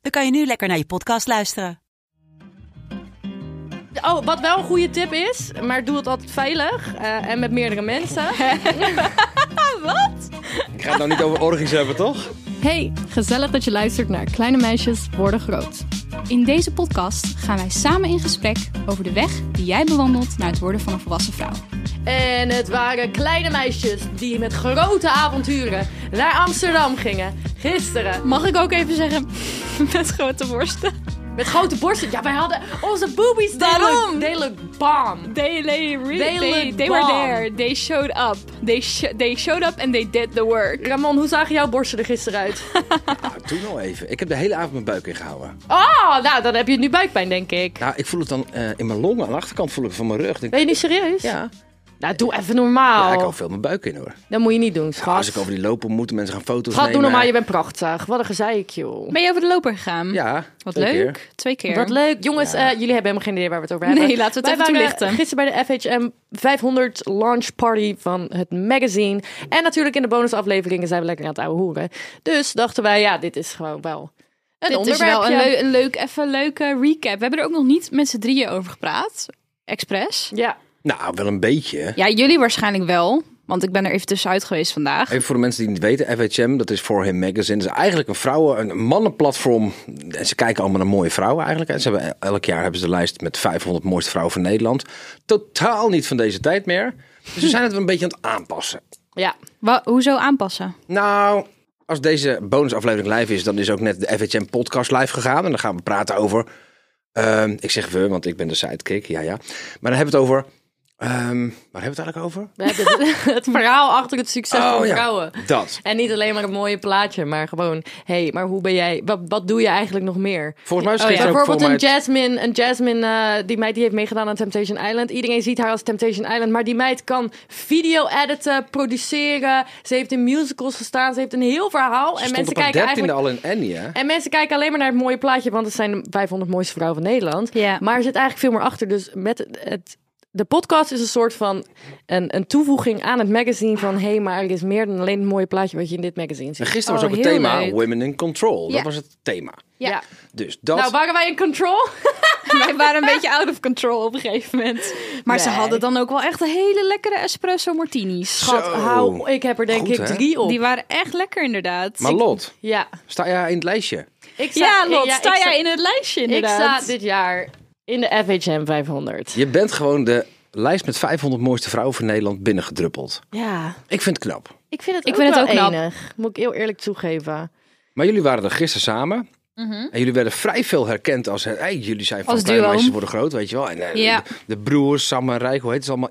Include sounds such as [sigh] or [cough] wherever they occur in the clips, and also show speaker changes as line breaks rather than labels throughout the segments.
dan kan je nu lekker naar je podcast luisteren.
Oh, wat wel een goede tip is, maar doe het altijd veilig eh, en met meerdere mensen.
Ik ga het nou niet over orgies hebben, toch?
[laughs] Hey, gezellig dat je luistert naar Kleine Meisjes Worden Groot. In deze podcast gaan wij samen in gesprek over de weg die jij bewandelt naar het worden van een volwassen vrouw.
En het waren kleine meisjes die met grote avonturen naar Amsterdam gingen. Gisteren.
Mag ik ook even zeggen, [laughs] met grote worsten.
Met grote borsten. Ja, wij hadden onze boobies.
Daarom.
They look, they look bomb.
They, they, really,
They
they,
look
they were
bomb.
there. They showed up. They, sho- they showed up and they did the work.
Ramon, hoe zagen jouw borsten er gisteren uit?
Nou, toen al even. Ik heb de hele avond mijn buik ingehouden.
Oh, nou, dan heb je nu buikpijn, denk ik.
Nou, ik voel het dan eh, in mijn longen. Aan de achterkant voel ik het van mijn rug. Ik Denk,
Ben je niet serieus?
ja.
Nou, doe even normaal.
ja, ik hou veel mijn buik in hoor.
Dat moet je niet doen,
Ja,
schat.
als ik over die lopen moet, mensen gaan foto's
Schat, doe
nemen.
normaal, je bent prachtig. Wat een gezeik, joh.
Ben je over de loper gegaan?
Ja.
Wat
twee
leuk.
keer.
Twee keer.
Wat leuk. Jongens, eh, jullie hebben helemaal geen idee waar we het over hebben.
Nee, laten we het
Wij
even
waren
toelichten.
gisteren bij de FHM 500 launch party van het magazine. En natuurlijk in de bonusafleveringen zijn we lekker aan het ouwe hoeren. Dus dachten wij, ja, dit is gewoon wel een
Dit is
onderwerpje.
wel een, leu- een leuk, even een leuke recap. We hebben er ook nog niet met z'n drieën over gepraat. Express.
Ja,
Nou, wel een beetje.
Ja, jullie waarschijnlijk wel. Want ik ben er even tussenuit geweest vandaag.
Even voor de mensen die het niet weten, FHM, dat is For Him Magazine. Dat is eigenlijk een vrouwen, een mannenplatform. En ze kijken allemaal naar mooie vrouwen eigenlijk. En ze hebben, eh, elk jaar hebben ze de lijst met 500 mooiste vrouwen van Nederland. Totaal niet van deze tijd meer. Dus we zijn het wel een beetje aan het aanpassen.
ja.
Wa- hoezo aanpassen?
Nou, als deze bonusaflevering live is, dan is ook net de FHM podcast live gegaan. En dan gaan we praten over. ehm, ik zeg we, want ik ben de sidekick. Ja, ja. Maar dan hebben we het over. ehm, waar hebben we het eigenlijk over? Oh,
We hebben het, [laughs] het verhaal achter het succes van vrouwen.
dat.
En niet alleen maar een mooie plaatje, maar gewoon... Hé, hey, maar hoe ben jij... Wat, wat doe je eigenlijk nog meer?
Volgens mij is
Oh,
het
ja.
ook
Bijvoorbeeld
voor
een
mij.
Jasmine, een Jasmine eh, die meid die heeft meegedaan aan Temptation Island. Iedereen ziet haar als Temptation Island, maar die meid kan video editen, produceren. Ze heeft in musicals gestaan, ze heeft een heel verhaal.
Ze
en
stond
mensen
op haar
kijken
dertiende
eigenlijk.
al in Annie, hè?
En mensen kijken alleen maar naar het mooie plaatje, want het zijn de 500 mooiste vrouwen van Nederland.
Ja.
Maar er zit eigenlijk veel meer achter. Dus met het, het- de podcast is een soort van een, een toevoeging aan het magazine van hé, hey, maar er is meer dan alleen het mooie plaatje wat je in dit magazine
En
ziet.
gisteren
Oh,
was ook het
heel
thema
leuk.
Women in Control.
Ja.
Dat was het thema.
Ja. [laughs]
Dus dat.
Nou, waren wij in control?
Wij waren een beetje out of control op
[laughs]
een gegeven moment. Maar ze
Nee.
hadden dan ook wel echt een hele lekkere espresso martinis.
Schat,
Zo.
hou, ik heb er denk
Goed,
ik
hè?
drie op.
Die waren echt lekker inderdaad.
maar Lot,
Ja.
sta jij in het lijstje?
Ik
ja, Lot, sta
ik
jij in het lijstje
Ik
inderdaad?
sta dit jaar in de FHM 500.
Je bent gewoon de lijst met 500 mooiste vrouwen van Nederland binnengedruppeld.
Ja,
Ik vind het knap.
ik vind het
Ik
ook
vind het
wel
ook knap.
enig. Moet ik heel eerlijk toegeven.
Maar jullie waren er gisteren samen.
Mhm.
En jullie werden vrij veel herkend als... Hey, jullie zijn van
Als
kleine
duo.
meisjes worden groot, weet je wel. En, eh,
Ja.
de, de broers, Sam en Rijk, hoe heet ze allemaal?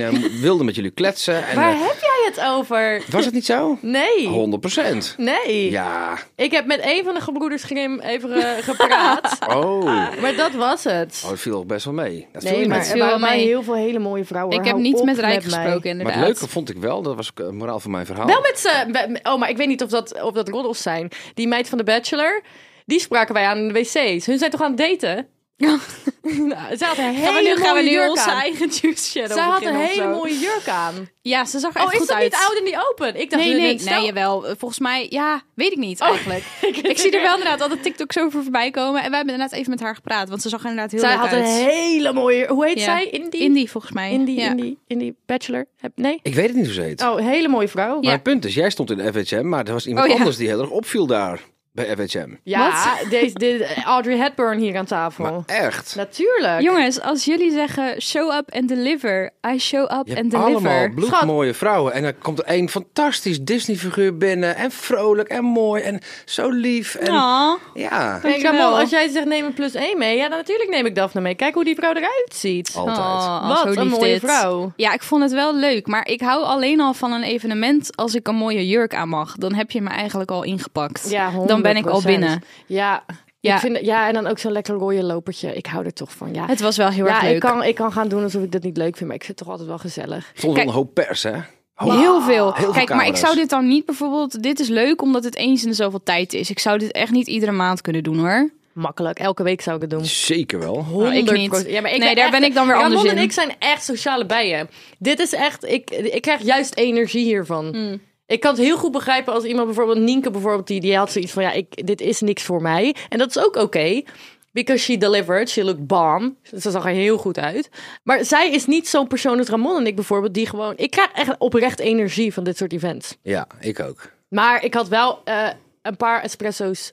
[laughs]
eh, wilde met jullie kletsen. En,
Waar
eh,
heb jij het over?
was het niet zo?
Nee.
100 procent.
Nee.
Ja.
Ik heb met een van de gebroeders Grimm even eh, gepraat. [laughs]
Oh. oh,
maar dat was het.
dat viel best wel mee. Dat viel
Ah. nee,
je
maar
mee.
er
viel wel
waren mij
mee.
heel veel hele mooie vrouwen.
dus ik heb
Hou
niet
op
met Rijk
mij.
gesproken
Maar
inderdaad.
het leuke vond ik wel, dat was ook een moraal van mijn verhaal.
Wel met ze. Oh, maar ik weet niet of dat, of dat roddels zijn. Die meid van de Bachelor, die spraken wij aan in de wc's. Hun zijn toch aan het daten? nou, [laughs] ze had een hele
Gaan we nu, gaan
mooie
we nu
jurk
onze
aan.
eigen juice shadow
Zij had een
beginnen of
hele
zo?
mooie jurk
[laughs]
aan.
Ja, ze zag er
Oh,
echt
is
goed
dat
uit.
niet oud en niet open? Ik dacht
Nee,
dat [laughs]
nee,
het stel-
nee, jawel. Volgens mij, ja, weet ik niet eigenlijk.
Ik,
Ik zie er wel inderdaad altijd TikToks over voorbij komen. En wij hebben inderdaad even met haar gepraat. Want ze zag er inderdaad heel
Zij
leuk
had een
uit.
hele mooie. Hoe heet
Ja.
zij? Indie?
Indie volgens mij.
Indie,
ja.
Indie, Indie Bachelor. Heb, nee.
Ik weet het niet hoe ze heet.
Oh, hele mooie vrouw.
Ja.
Mijn punt is, jij stond in de FHM, maar er was iemand
Oh, ja.
anders die heel erg opviel daar bij FHM.
Ja, deze, dit, Audrey Hepburn hier aan tafel.
Maar echt.
Natuurlijk.
Jongens, als jullie zeggen show up and deliver. I show up
Je
and
hebt allemaal
deliver.
bloedmooie vrouwen. En dan komt er één fantastisch Disney-figuur binnen. En vrolijk en mooi en zo lief. En
Aw.
ja,
Kijk,
Dankjewel.
Ramon, als jij zegt neem een plus één mee, ja, dan natuurlijk neem ik Daphne mee. Kijk hoe die vrouw eruit ziet.
altijd.
Oh,
Wat
zo
een
lief
mooie
dit.
vrouw.
Ja, ik vond het wel leuk. Maar ik hou alleen al van een evenement als ik een mooie jurk aan mag. Dan heb je me eigenlijk al ingepakt.
Ja,
Dan ben ik al
100%.
binnen.
Ja,
Ja,
Ik vind, het- ja, en dan ook zo'n lekker rode lopertje. Ik hou er toch van. Ja,
het was wel heel
ja
erg leuk.
ik, kan, ik kan gaan doen alsof ik dat niet leuk vind, maar ik vind het toch altijd wel gezellig.
Stond wel
Kijk-
een hoop pers, hè? Hoop-
Heel veel.
Heel veel
Kijk, maar ik
camera's.
zou dit dan niet bijvoorbeeld. Dit is leuk omdat het eens in de zoveel tijd is. Ik zou dit echt niet iedere maand kunnen doen hoor.
Makkelijk, elke week zou ik het doen.
Zeker wel.
Nou, ik niet.
100%. Ja, maar ik
Nee, daar
echt-
ben ik dan weer
Ramon
anders in.
en ik zijn echt sociale bijen. Dit is echt, ik, ik krijg juist energie hiervan.
Hmm.
Ik kan het heel goed begrijpen als iemand bijvoorbeeld, Nienke bijvoorbeeld, die, die had zoiets van, ja, ik, dit is niks voor mij. En dat is ook oké. Because she delivered, she looked bomb. Ze zag er heel goed uit. Maar zij is niet zo'n persoon als Ramon en ik bijvoorbeeld, die gewoon... Ik krijg echt oprecht energie van dit soort events.
Ja, ik ook.
Maar ik had wel eh, een paar espresso's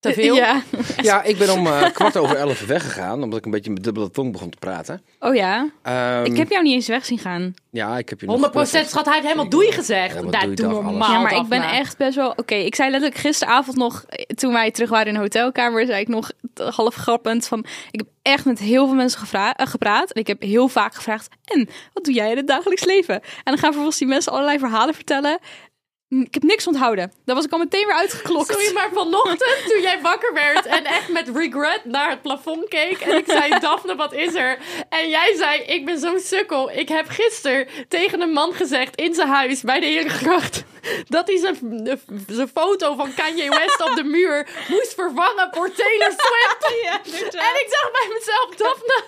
te
[laughs]
veel.
Ja.
Ja, ik ben om eh, kwart over elf weggegaan, omdat ik een beetje met dubbele tong begon te praten.
Oh ja.
Ehm,
ik heb jou niet eens weg zien gaan.
Ja, ik heb je
100%
nog
schat, hij heeft helemaal doei gezegd.
Ja,
Ja,
maar
Daar,
doei
doe
dag, alles.
normaal.
ja, maar ik
dag
ben
na.
echt best wel. Oké, ik zei letterlijk gisteravond nog. eh, Toen wij terug waren in de hotelkamer, zei ik nog t- half grappend van. Ik heb echt met heel veel mensen gevra- eh, gepraat. En ik heb heel vaak gevraagd. En wat doe jij in het dagelijks leven? En dan gaan vervolgens die mensen allerlei verhalen vertellen. N- Ik heb niks onthouden. Daar was ik al meteen weer uitgeklokt.
Sorry, maar vanochtend toen jij wakker werd en echt met regret naar het plafond keek. En ik
[laughs]
zei, Daphne, wat is er? En jij zei, ik ben zo'n sukkel. Ik heb gisteren tegen een man gezegd in zijn huis bij de Herengracht... [laughs] dat hij zijn, zijn foto van Kanye West op de muur moest vervangen voor Taylor
[laughs]
Swift. En ik dacht bij mezelf, Daphne,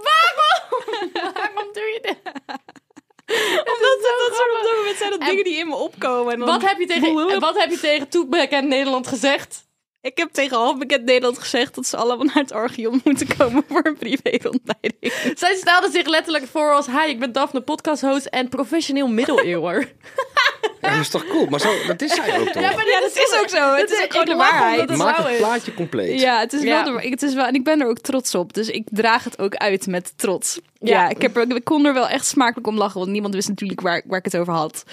waarom? Waarom doe je dit?
[laughs] Omdat dat, dat soort op dat moment zijn dat dingen die in me opkomen. En dan-
Wat heb je tegen,
Bloep.
wat heb je tegen Toepak en Nederland gezegd?
Ik heb tegen halfbekend Nederland gezegd dat ze allemaal naar het Archeon moeten komen voor een privéontbijting.
Zij stelde zich letterlijk voor als... Hi, ik ben Daphne, podcasthost en professioneel middeleeuwer. [laughs]
Ja, dat is toch cool? Maar zo, dat is zij ook toch?
maar
Ja,
dit
dat is ook zo. Het is
dit
ook gewoon
ik
de
lach omdat
waarheid.
het
Maak
zo
het
is.
plaatje compleet.
Ja, het is,
Ja.
Wel de- het is wel. En ik ben er ook trots op. Dus ik draag het ook uit met trots. Ja,
Ja.
ik, heb, er- ik kon er wel echt smakelijk om lachen. Want niemand wist natuurlijk waar, waar ik het over had.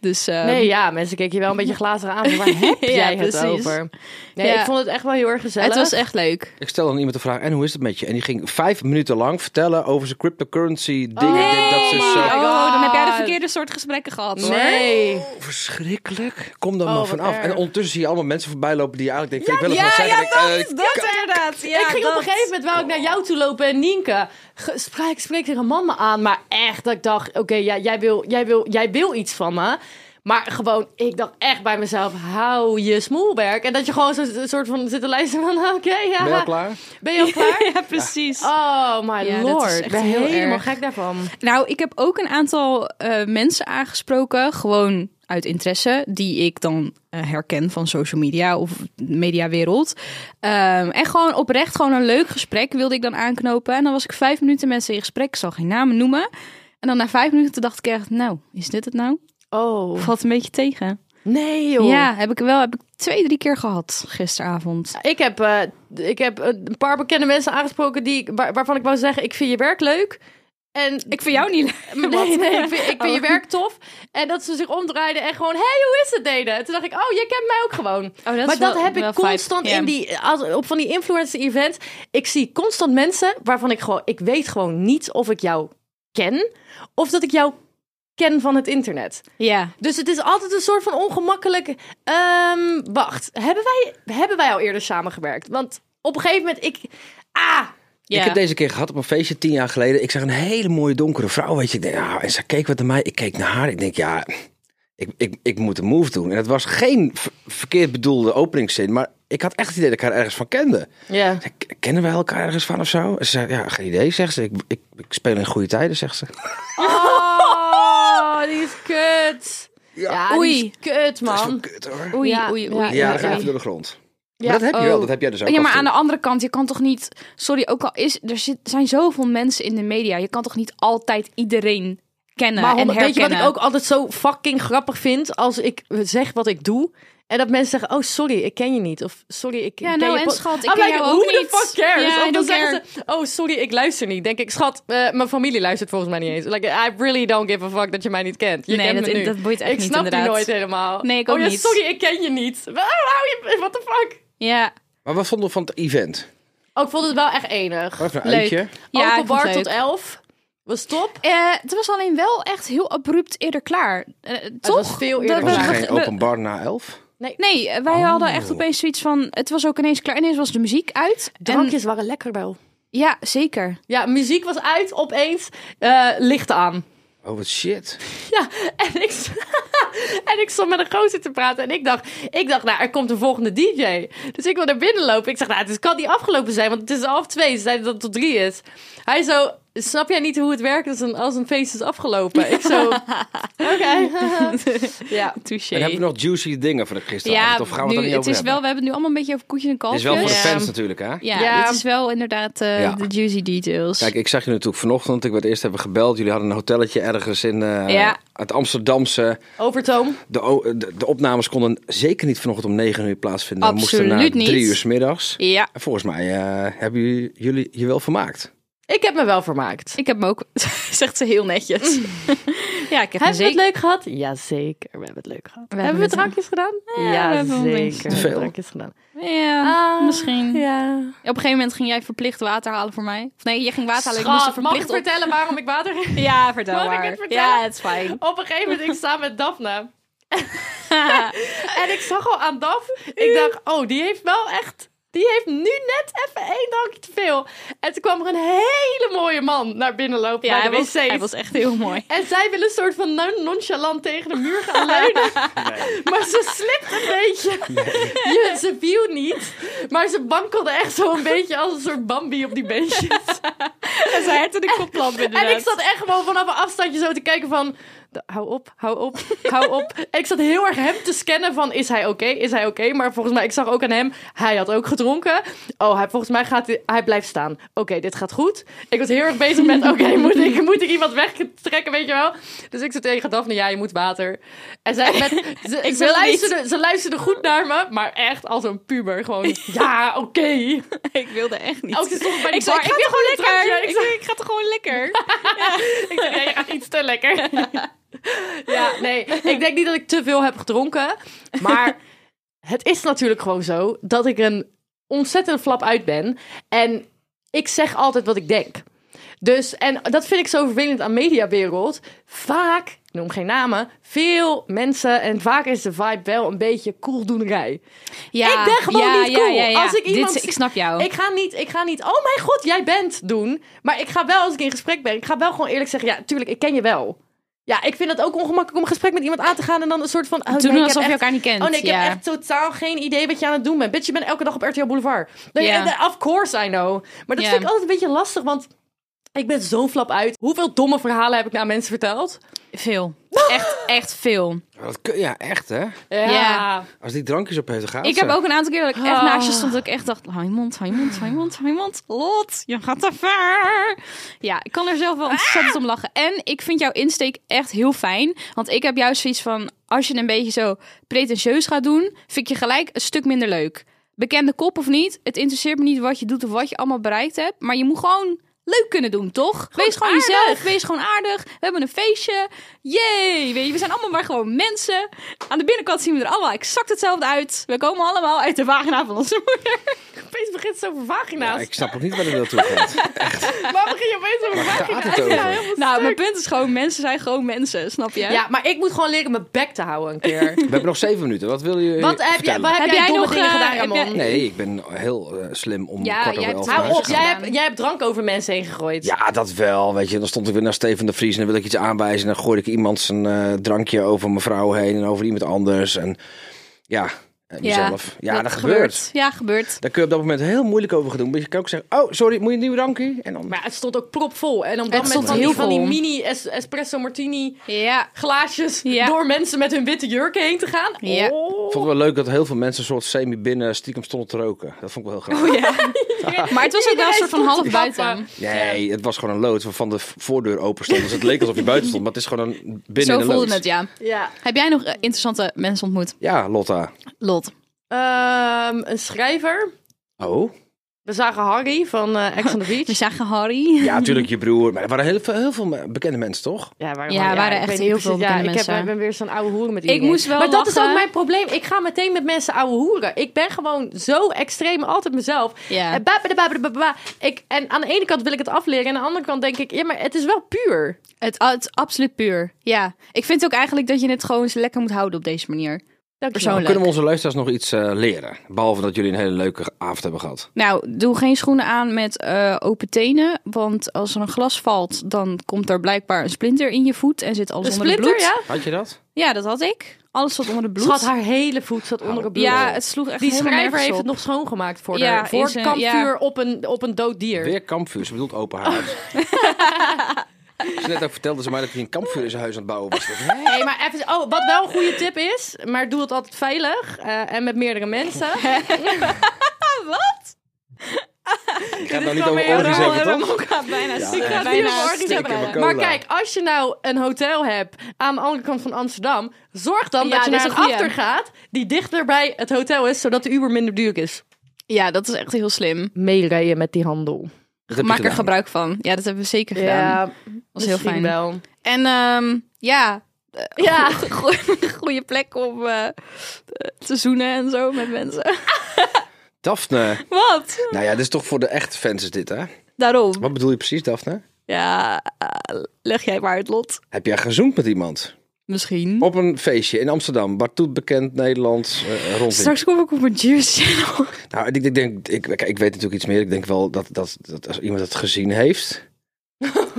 Dus eh,
Nee, ja, mensen keken je wel een beetje glazig aan. [laughs] maar Waar heb
Ja,
jij het
precies.
over? Nee,
Ja.
ik vond het echt wel heel erg gezellig.
het was echt leuk.
Ik stelde aan iemand de vraag, en hoe is het met je? En die ging vijf minuten lang vertellen over zijn cryptocurrency dingen. dit, dat dus, eh, ze zo...
Oh,
my God.
dan heb jij de verkeerde soort gesprekken gehad hoor.
Nee.
Oh, verschrikkelijk. Kom
Oh,
dan maar
wat
vanaf.
erg.
En ondertussen zie je allemaal mensen voorbij lopen die je eigenlijk denkt, vind ik eh,
Ja,
wel eens
ja,
wat zeggen.
dat, dat inderdaad. Ja,
ik ging op
dat.
een gegeven moment wou ik naar jou toe lopen en Nienke. ge- Spreek, spreek tegen een man me aan, maar echt dat ik dacht, oké, ja, jij, wil, jij, wil, jij wil iets van me. Maar gewoon, ik dacht echt bij mezelf, hou je smoelwerk. En dat je gewoon zo'n zo'n soort van zit te luisteren van, [laughs] oké, ja.
Ben je al klaar?
Ben je al klaar?
[laughs] Ja, precies.
Oh my
Ja, dat is
lord,
echt
ik ben
heel
helemaal
erg.
gek daarvan.
Nou, ik heb ook een aantal eh, mensen aangesproken, gewoon uit interesse, die ik dan eh, herken van social media of mediawereld. Ehm, en gewoon oprecht, gewoon een leuk gesprek wilde ik dan aanknopen. En dan was ik vijf minuten mensen in gesprek, ik zal geen namen noemen. En dan na vijf minuten dacht ik echt, nou, is dit het nou?
Oh,
Valt een beetje tegen.
nee joh.
Ja, heb ik wel, heb ik twee, drie keer gehad gisteravond.
Ik heb, eh, ik heb een paar bekende mensen aangesproken die, ik- waar- waarvan ik wou zeggen, ik vind je werk leuk. En
Ik vind jou niet Oh, leuk. [laughs]
Nee, nee, ik vind, ik vind je werk tof. En dat ze zich omdraaiden en gewoon, hé, hey, hoe is het deden? Toen dacht ik, oh, jij kent mij ook gewoon.
dat is
maar dat
wel-
heb
wel
ik
vibe,
constant
ja.
in die, als, op van die influencer events. Ik zie constant mensen waarvan ik gewoon, ik weet gewoon niet of ik jou ken. Of dat ik jou ken van het internet.
Ja.
Dus het is altijd een soort van ongemakkelijk. ehm, wacht, hebben wij, hebben wij al eerder samengewerkt? Want op een gegeven moment, ik. Ah!
ja.
Ik heb deze keer gehad op een feestje tien jaar geleden. Ik zag een hele mooie donkere vrouw. Weet je, ik denk, ah, en zij keek wat naar mij. Ik keek naar haar. Ik denk, ja, ik, ik, ik moet een move doen. En het was geen ver- verkeerd bedoelde openingszin. Maar ik had echt het idee dat ik haar ergens van kende.
Ja.
Ik zei, Kennen we elkaar ergens van of zo? En Ze zei, ja, geen idee, zegt ze. Ik, ik, ik speel in goede tijden, zegt ze. [laughs]
Oh, die is kut. Ja,
Oei.
die is kut,
Dat is wel
man.
kut hoor.
Oei,
Ja,
oei,
ja,
oei.
Ja, dan
oké.
ga je even door de grond. maar dat heb je
oh.
wel, dat heb jij dus ook.
Ja,
af
maar
en
aan
toe.
de andere kant, je kan toch niet. Sorry, ook al is er zit, zijn zoveel mensen in de media, je kan toch niet altijd iedereen kennen
Maar
Nou, en
honderd- weet je
herkennen.
wat ik ook altijd zo fucking grappig vind? Als ik zeg wat ik doe. En dat mensen zeggen, oh sorry, ik ken je niet. Of sorry, ik
Ja,
ken
nou,
je
en
pod-
schat, ik
Ah,
ken
maar
jou ook
who
niet.
the fuck cares?
Ja, I
of dan
don't
zeggen ze, oh sorry, ik luister niet. Denk ik, schat, eh, mijn familie luistert volgens mij niet eens. Like, I really don't give a fuck dat je mij niet kent. Je
Nee,
kent
dat-
me nu.
dat boeit echt
ik
niet,
snap
inderdaad.
die nooit helemaal.
Nee, ik
oh,
ook
ja,
niet.
sorry, ik ken je niet. [laughs] Oh, hou je, what the fuck?
Ja,
Maar wat vonden we van het event?
Oh, ik vond het wel echt enig.
Wat een
leuk.
uitje.
Ja,
Open
ik vond
bar
het leuk.
tot 11. Was top.
Eh, het was alleen wel echt heel abrupt eerder klaar. Eh, toch?
was veel eerder
Dat we-
Was er
klaar.
we-
geen
we-
open bar na elf?
Nee,
Nee, eh, wij hadden echt opeens zoiets van... Het was ook ineens klaar. Ineens was de muziek uit. En,
drankjes waren lekker wel.
ja, zeker.
Ja, muziek was uit, opeens eh, lichten aan. [laughs]
Oh, wat shit.
Ja, en ik, st- [laughs] en ik stond met een gozer te praten. En ik dacht, ik dacht, nou, er komt een volgende DJ. Dus ik wil naar binnen lopen. Ik zeg, nou, het kan niet afgelopen zijn, want het is half twee. Ze zeiden dat het tot drie is. Hij zo, snap jij niet hoe het werkt als een, als een feest is afgelopen? Ik [laughs] zo, oké. [laughs] ja.
Touché.
En hebben we nog juicy dingen van gisteren?
ja,
of gaan we het
nu,
er niet
het
over
is
hebben?
wel, we hebben het nu allemaal een beetje over koetje en
Dit
kalfjes.
is wel voor de
Ja.
fans natuurlijk, hè?
Ja,
Ja.
dit is wel inderdaad eh,
Ja.
de juicy details.
Kijk, ik zag je natuurlijk vanochtend. Ik werd eerst hebben gebeld. Jullie hadden een hotelletje ergens in eh,
Ja.
het Amsterdamse.
Overtoom.
De, o- de, de opnames konden zeker niet vanochtend om 9 uur plaatsvinden. We moesten
Absoluut
na
niet.
drie uur 's middags.
ja,
En volgens mij eh, hebben jullie- jullie je wel vermaakt.
Ik heb me wel vermaakt.
ik heb hem ook, zegt ze heel [laughs] netjes. ja, ik heb hem
Hebben we het
zeker.
leuk gehad? Jazeker, we hebben het leuk gehad.
hebben
hebben we
het-
drankjes gedaan?
Ja, we hebben wel drinken.
Jazeker, we hebben
Veel.
drankjes gedaan.
Ja, misschien.
Ja.
Op een gegeven moment ging jij verplicht water halen voor mij. Of nee, je ging water halen. ik moest er
Schat, Ah, mag ik
verplicht op...
vertellen waarom ik water
[laughs] Ja, vertel
Mag ik
maar.
het vertellen?
ja, het is fijn.
Op een gegeven moment, ik sta met
[laughs]
Daphne. en ik zag al aan Daf, ik dacht, oh, die heeft wel echt... Die heeft nu net even één drankje te veel. En toen kwam er een hele mooie man naar binnen lopen
Ja,
bij
hij
de
was,
wc's.
hij was echt heel mooi.
En zij wil een soort van non- nonchalant tegen de muur gaan leunen. Maar ze slipt een beetje. Je, ze viel niet. Maar ze wankelde echt zo een beetje als een soort Bambi op die beentjes.
En zij had
[laughs]
de kopplamp
En ik zat echt gewoon vanaf een afstandje zo te kijken van... "D- Hou op, hou op, hou
[laughs]
op. En ik zat heel erg hem te scannen van... Is hij oké, is hij oké? Maar volgens mij, ik zag ook aan hem... Hij had ook gedronken. Oh, hij, volgens mij gaat hij... Hij blijft staan. Oké, dit gaat goed. Ik was heel erg bezig met...
[laughs]
Oké, moet, ik, moet ik iemand wegtrekken, weet je wel? Dus ik zei tegen Daphne... Ja, je moet water. En zij
[laughs]
met... Ze,
Ik
ze
wil
luisterde, ze luisterde goed naar me. Maar echt als een puber. Gewoon,
[laughs]
ja, oké.
ik wilde echt niet.
Ook ze stond bij de
ik zei,
bar,
ik ga
wil
toch gewoon
een drankje."
lekker.
Ik
Ik,
zei,
zei, ik ga toch gewoon lekker.
ik dacht, ja, [laughs] je gaat iets te lekker. ja, nee. Ik denk niet dat ik te veel heb gedronken. Maar het is natuurlijk gewoon zo dat ik een ontzettend flap uit ben. En ik zeg altijd wat ik denk. Dus, en dat vind ik zo vervelend aan mediawereld. Vaak, ik noem geen namen, veel mensen... en vaak is de vibe wel een beetje koeldoenerij.
Ja,
Ik ben gewoon niet cool. Als ik iemand
Dit,
zie-
ik snap jou.
Ik ga niet, ik ga niet, oh mijn god, jij bent doen. Maar ik ga wel, als ik in gesprek ben, ik ga wel gewoon eerlijk zeggen, ja, tuurlijk, ik ken je wel. Ja, ik vind het ook ongemakkelijk om een gesprek met iemand aan te gaan en dan een soort van... Oh, nee,
Toen
ik
doen
heb
alsof je
echt-
elkaar niet kent.
Oh nee, ik
ja.
heb echt totaal geen idee wat je aan het doen bent. Bitch, je bent elke dag op RTL Boulevard. Nee,
Ja.
eh, Of course I know. Maar dat
Ja.
vind ik altijd een beetje lastig, want ik ben zo'n flap uit. Hoeveel domme verhalen heb ik naar mensen verteld? [laughs]
Veel. Echt, echt veel.
Wat kun- Ja, echt hè?
Ja. Oh.
Als die drankjes op heeft gehaald.
Ik heb ook een aantal keer dat ik echt
Ah.
naast je stond dat ik echt dacht... Hou je mond, hou je mond, hou je mond, hou je mond. Lot, je gaat te ver. Ja, ik kan er zelf wel ontzettend om lachen. En ik vind jouw insteek echt heel fijn. Want ik heb juist zoiets van... Als je een beetje zo pretentieus gaat doen... vind ik je gelijk een stuk minder leuk. Bekende kop of niet. Het interesseert me niet wat je doet of wat je allemaal bereikt hebt. Maar je moet gewoon... Leuk kunnen doen, toch? wees gewoon
aardig.
jezelf, wees gewoon aardig. We hebben een feestje. Yay! Weet je, we zijn allemaal maar gewoon mensen. Aan de binnenkant zien we er allemaal exact hetzelfde uit. We komen allemaal uit de vagina van onze moeder.
Opeens begint het over
Ja,
vagina's.
ik snap ook niet waar dit naartoe gaat.
Waar begin je opeens over
Waar gaat
vagina's?
het over?
Ja, heel veel
Nou,
stuk.
mijn punt is gewoon, mensen zijn gewoon mensen, snap je?
ja, maar ik moet gewoon leren mijn bek te houden een keer.
[laughs]
We hebben nog zeven minuten. Wat wil je
Wat heb, jij,
vertellen?
wat heb,
Heb
jij
jij
domme
nog,
dingen
eh,
gedaan,
heb
Ramon?
jij-
Nee, ik ben heel eh, slim om
Ja,
kwart
jij
over
hebt-
elf
Hou
naar
Hou
huis
op,
te
jij
gaan.
gedaan.
hebt, jij hebt drank over mensen heen gegooid.
Ja, dat wel. Weet je, dan stond ik weer naar Steven de Vries en dan wil ik iets aanwijzen. En dan gooide ik iemand zijn eh, drankje over mijn vrouw heen en over iemand anders. En ja, en mezelf. Ja, dat, gebeurt.
Ja, gebeurt.
Daar kun je op dat moment heel moeilijk over gaan doen. Want je kan ook zeggen, oh, sorry, moet je een nieuw drankje? En dan...
Maar het stond ook propvol. En op dat
Het
moment
stond
van, die,
heel
van die
vol.
mini es- espresso martini
Ja.
glaasjes
Ja.
door mensen met hun witte jurken heen te gaan.
Ja.
Ik
Oh.
vond het wel leuk dat heel veel mensen een soort semi-binnen stiekem stonden te roken. Dat vond ik wel heel grappig.
Maar het was ook wel een soort van
Iedereen
half
stond te
buiten.
wappen.
Nee, het was gewoon een lood waarvan de voordeur open stond. Dus het leek alsof je buiten stond, maar het is gewoon een binnen
Zo
een lood.
voelde het, ja.
Ja.
Heb jij nog eh, interessante mensen ontmoet?
Ja, Lotta.
Lot.
Ehm, een schrijver.
Oh?
We zagen Harry van eh Ex on the
We
Beach.
zagen Harry.
Ja, natuurlijk je broer. Maar er waren heel veel, heel veel bekende mensen, toch?
Ja, waren,
[laughs] Ja, waren
ik
echt
weet niet
heel veel
precies. Ja, ik,
bekende
heb,
mensen.
ik ben weer zo'n oude hoeren met
Ik
iedereen.
moest wel
Maar dat is
lachen.
ook mijn probleem. Ik ga meteen met mensen oude hoeren. Ik ben gewoon zo extreem altijd mezelf.
Ja.
En, ba- ba- ba- ba- ba- ba- ik, en aan de ene kant wil ik het afleren. En aan de andere kant denk ik, ja, maar het is wel puur.
Het, het is absoluut puur. Ja. Ik vind ook eigenlijk dat je het gewoon lekker moet houden op deze manier. Persoonlijk.
Kunnen we onze luisteraars nog iets eh, leren? Behalve dat jullie een hele leuke avond hebben gehad.
Nou, doe geen schoenen aan met eh, open tenen. Want als er een glas valt, dan komt er blijkbaar een splinter in je voet en zit alles
De
onder
splinter,
de bloed.
ja?
Had je dat?
Ja, dat had ik. Alles zat onder de bloed.
Schat, haar hele voet zat onder de bloed.
Ja, het sloeg echt
Die
helemaal
schrijver
nergens
heeft het
op.
nog schoongemaakt voor
Ja,
haar. Voor
is een-
kampvuur
ja.
op, een, op een dood dier.
Weer kampvuur. Ze bedoelt open huis. ze net ook vertelde ze mij dat hij een kampvuur in zijn huis aan het bouwen was.
Hey, maar even, oh, wat wel een goede tip is, maar doe het altijd veilig eh, en met meerdere mensen.
Ik ga het nou
is
niet
wel
over
weer een
orgies
rauwe
hebben, toch?
bijna ja,
ik ga
Bijna
het
bijna
orgies
stinken
hebben.
van cola.
Maar kijk, als je nou een hotel hebt aan de andere kant van Amsterdam, zorg dan
Ja,
dat je
dit is
naar een
een goeie.
after gaat die dichter bij het hotel is, zodat de Uber minder duur is.
Ja, dat is echt heel slim.
Meerijden met die handel.
Dat heb je
Maak er
gedaan.
gebruik van. Ja, dat hebben we zeker gedaan.
Ja,
was heel
misschien
fijn.
Wel.
En ehm, ja, [laughs]
Ja,
goede plek om eh, te zoenen en zo met mensen.
Daphne.
Wat?
Nou ja, dit is toch voor de echte fans is dit, hè?
Daarom.
Wat bedoel je precies, Daphne?
Ja, eh, leg jij maar het lot.
Heb jij gezoend met iemand?
Misschien.
Op een feestje in Amsterdam, Bartoet bekend, Nederlands, eh rond.
Straks kom ik op een Juice Channel.
Nou, ik, ik denk, ik, ik weet natuurlijk iets meer. Ik denk wel dat, dat, dat als iemand het gezien
[laughs]
heeft,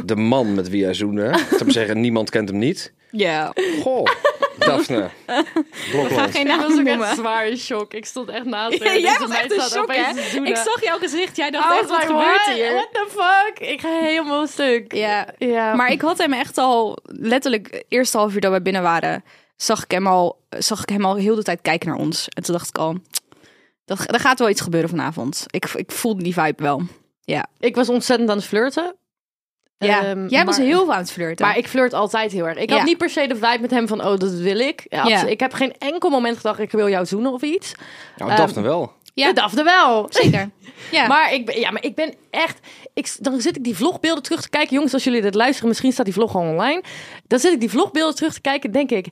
de man met wie hij zoende, te maar zeggen, niemand kent hem niet.
Ja.
Goh, Daphne. Blokland.
ik
geen [laughs]
was ook echt
noemen.
zwaar in shock. Ik stond echt
[laughs]
naast haar.
Jij
Deze
was
meid
echt in
staat
shock,
opeens
hè?
te zoenen.
Ik zag jouw gezicht. Jij dacht
I
echt,
was
Oh wat
like,
gebeurt
what?
hier?
What the fuck? Ik ga helemaal stuk.
Ja.
ja.
Maar ik had hem echt al, letterlijk, het eerste half uur dat wij binnen waren, zag ik hem al, zag ik hem al heel de tijd kijken naar ons. En toen dacht ik al, dat, er gaat wel iets gebeuren vanavond. Ik, ik voelde die vibe wel.
Ik was ontzettend aan het flirten.
Ja.
Ehm,
Jij was
maar-
heel veel aan het flirten.
Maar ik flirt altijd heel erg. Ik
Ja.
had niet per se de vibe met hem van, oh, dat wil ik. Ja,
Ja.
absolu- Ik heb geen enkel moment gedacht, ik wil jou zoenen of iets.
Nou, Daphne wel.
Ja.
Ja. Daphne wel.
Zeker. Ja.
Maar ik, ben, ja, maar ik ben echt... Ik, dan zit ik die vlogbeelden terug te kijken. Jongens, als jullie dit luisteren, misschien staat die vlog al online. Dan zit ik die vlogbeelden terug te kijken, denk ik...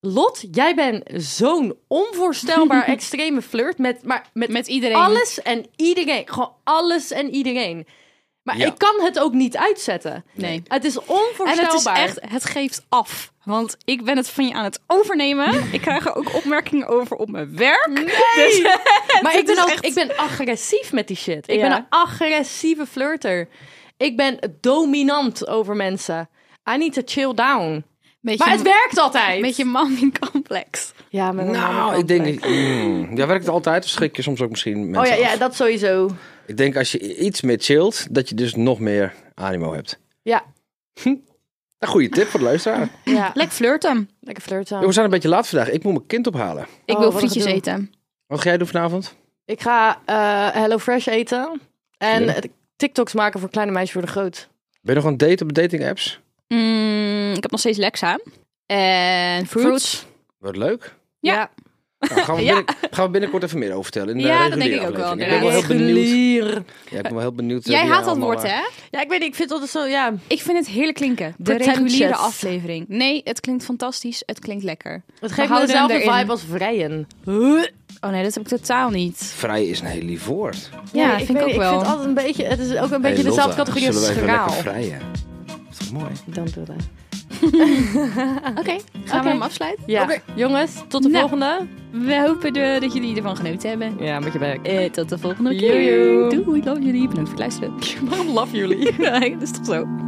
Lot, jij bent zo'n [laughs] onvoorstelbaar extreme flirt met, maar met,
Met iedereen.
alles en iedereen. Gewoon alles en iedereen. Maar
Ja.
ik kan het ook niet uitzetten.
Nee.
Het is
En
onvoorstelbaar.
het is echt, het geeft af. Want ik ben het van je aan het overnemen. Ik krijg er ook opmerkingen over op mijn werk. Dus,
Maar
dit
ik ben,
is
ook,
echt-
ik ben agressief met die shit. Ik
Ja.
ben een agressieve flirter. Ik ben dominant over mensen. I need to chill down.
beetje,
Maar het werkt altijd.
Met je mommy complex.
ja, met een
Nou,
andere
ik denk...
kant.
Mm, ja, werkt het altijd? Of schrik je soms ook misschien mensen
Oh ja,
af?
ja, dat sowieso.
Ik denk als je iets meer chillt, dat je dus nog meer animo hebt. Hm.
Ja,
Een goede tip voor de luisteraar.
ja.
Lekker flirten.
lekker flirten.
Jongens, We zijn een beetje laat vandaag. Ik moet mijn kind ophalen.
Ik
Oh,
wil
wat een
frietjes
gedoe.
eten.
Wat ga jij doen vanavond?
Ik ga eh, Hello Fresh eten. En
Ja.
eh, TikToks maken voor kleine meisjes worden groot.
Ben je nog aan het daten op dating apps?
Mm, ik heb nog steeds Lexa. En fruits.
Wordt leuk.
Ja.
Nou, gaan, we
[laughs] Ja.
binnen- gaan we binnenkort even meer vertellen. In de
Ja, dat
reguliere
denk ik ook wel,
aflevering. Ik
Ja,
ben wel heel benieuwd.
Regulier.
Ja, ik ben wel heel benieuwd. eh,
Jij
wie
haat dat
allemaal,
woord,
eh,
hè?
Ja, ik weet niet, ik vind het altijd zo, ja.
Ik vind het heerlijk klinken. De
Pretentious.
reguliere aflevering. Nee, het klinkt fantastisch. Het klinkt lekker.
Het
We
geeft me
houden hem
dezelfde
erin.
vibe als vrijen.
Oh nee, dat heb ik totaal niet.
Vrij is een heel lief woord. Hey,
Ja, vind ik
weet-
ook wel.
Ik vind altijd een beetje, het is ook een beetje
Lotte,
dezelfde categorie als
Zullen we even
schraal.
lekker vrijen? Dat is toch mooi?
Dan doe dat.
Oké, gaan
Oké.
we hem afsluiten?
Ja,
Oké.
jongens, tot de
Nou.
volgende.
We hopen eh, dat jullie ervan genoten hebben.
Ja, met je bek.
Eh, tot de volgende keer.
Joejoe.
Doei, love jullie. Bedankt voor het luisteren.
Waarom [laughs] love jullie?
[laughs] ja, dat is toch zo.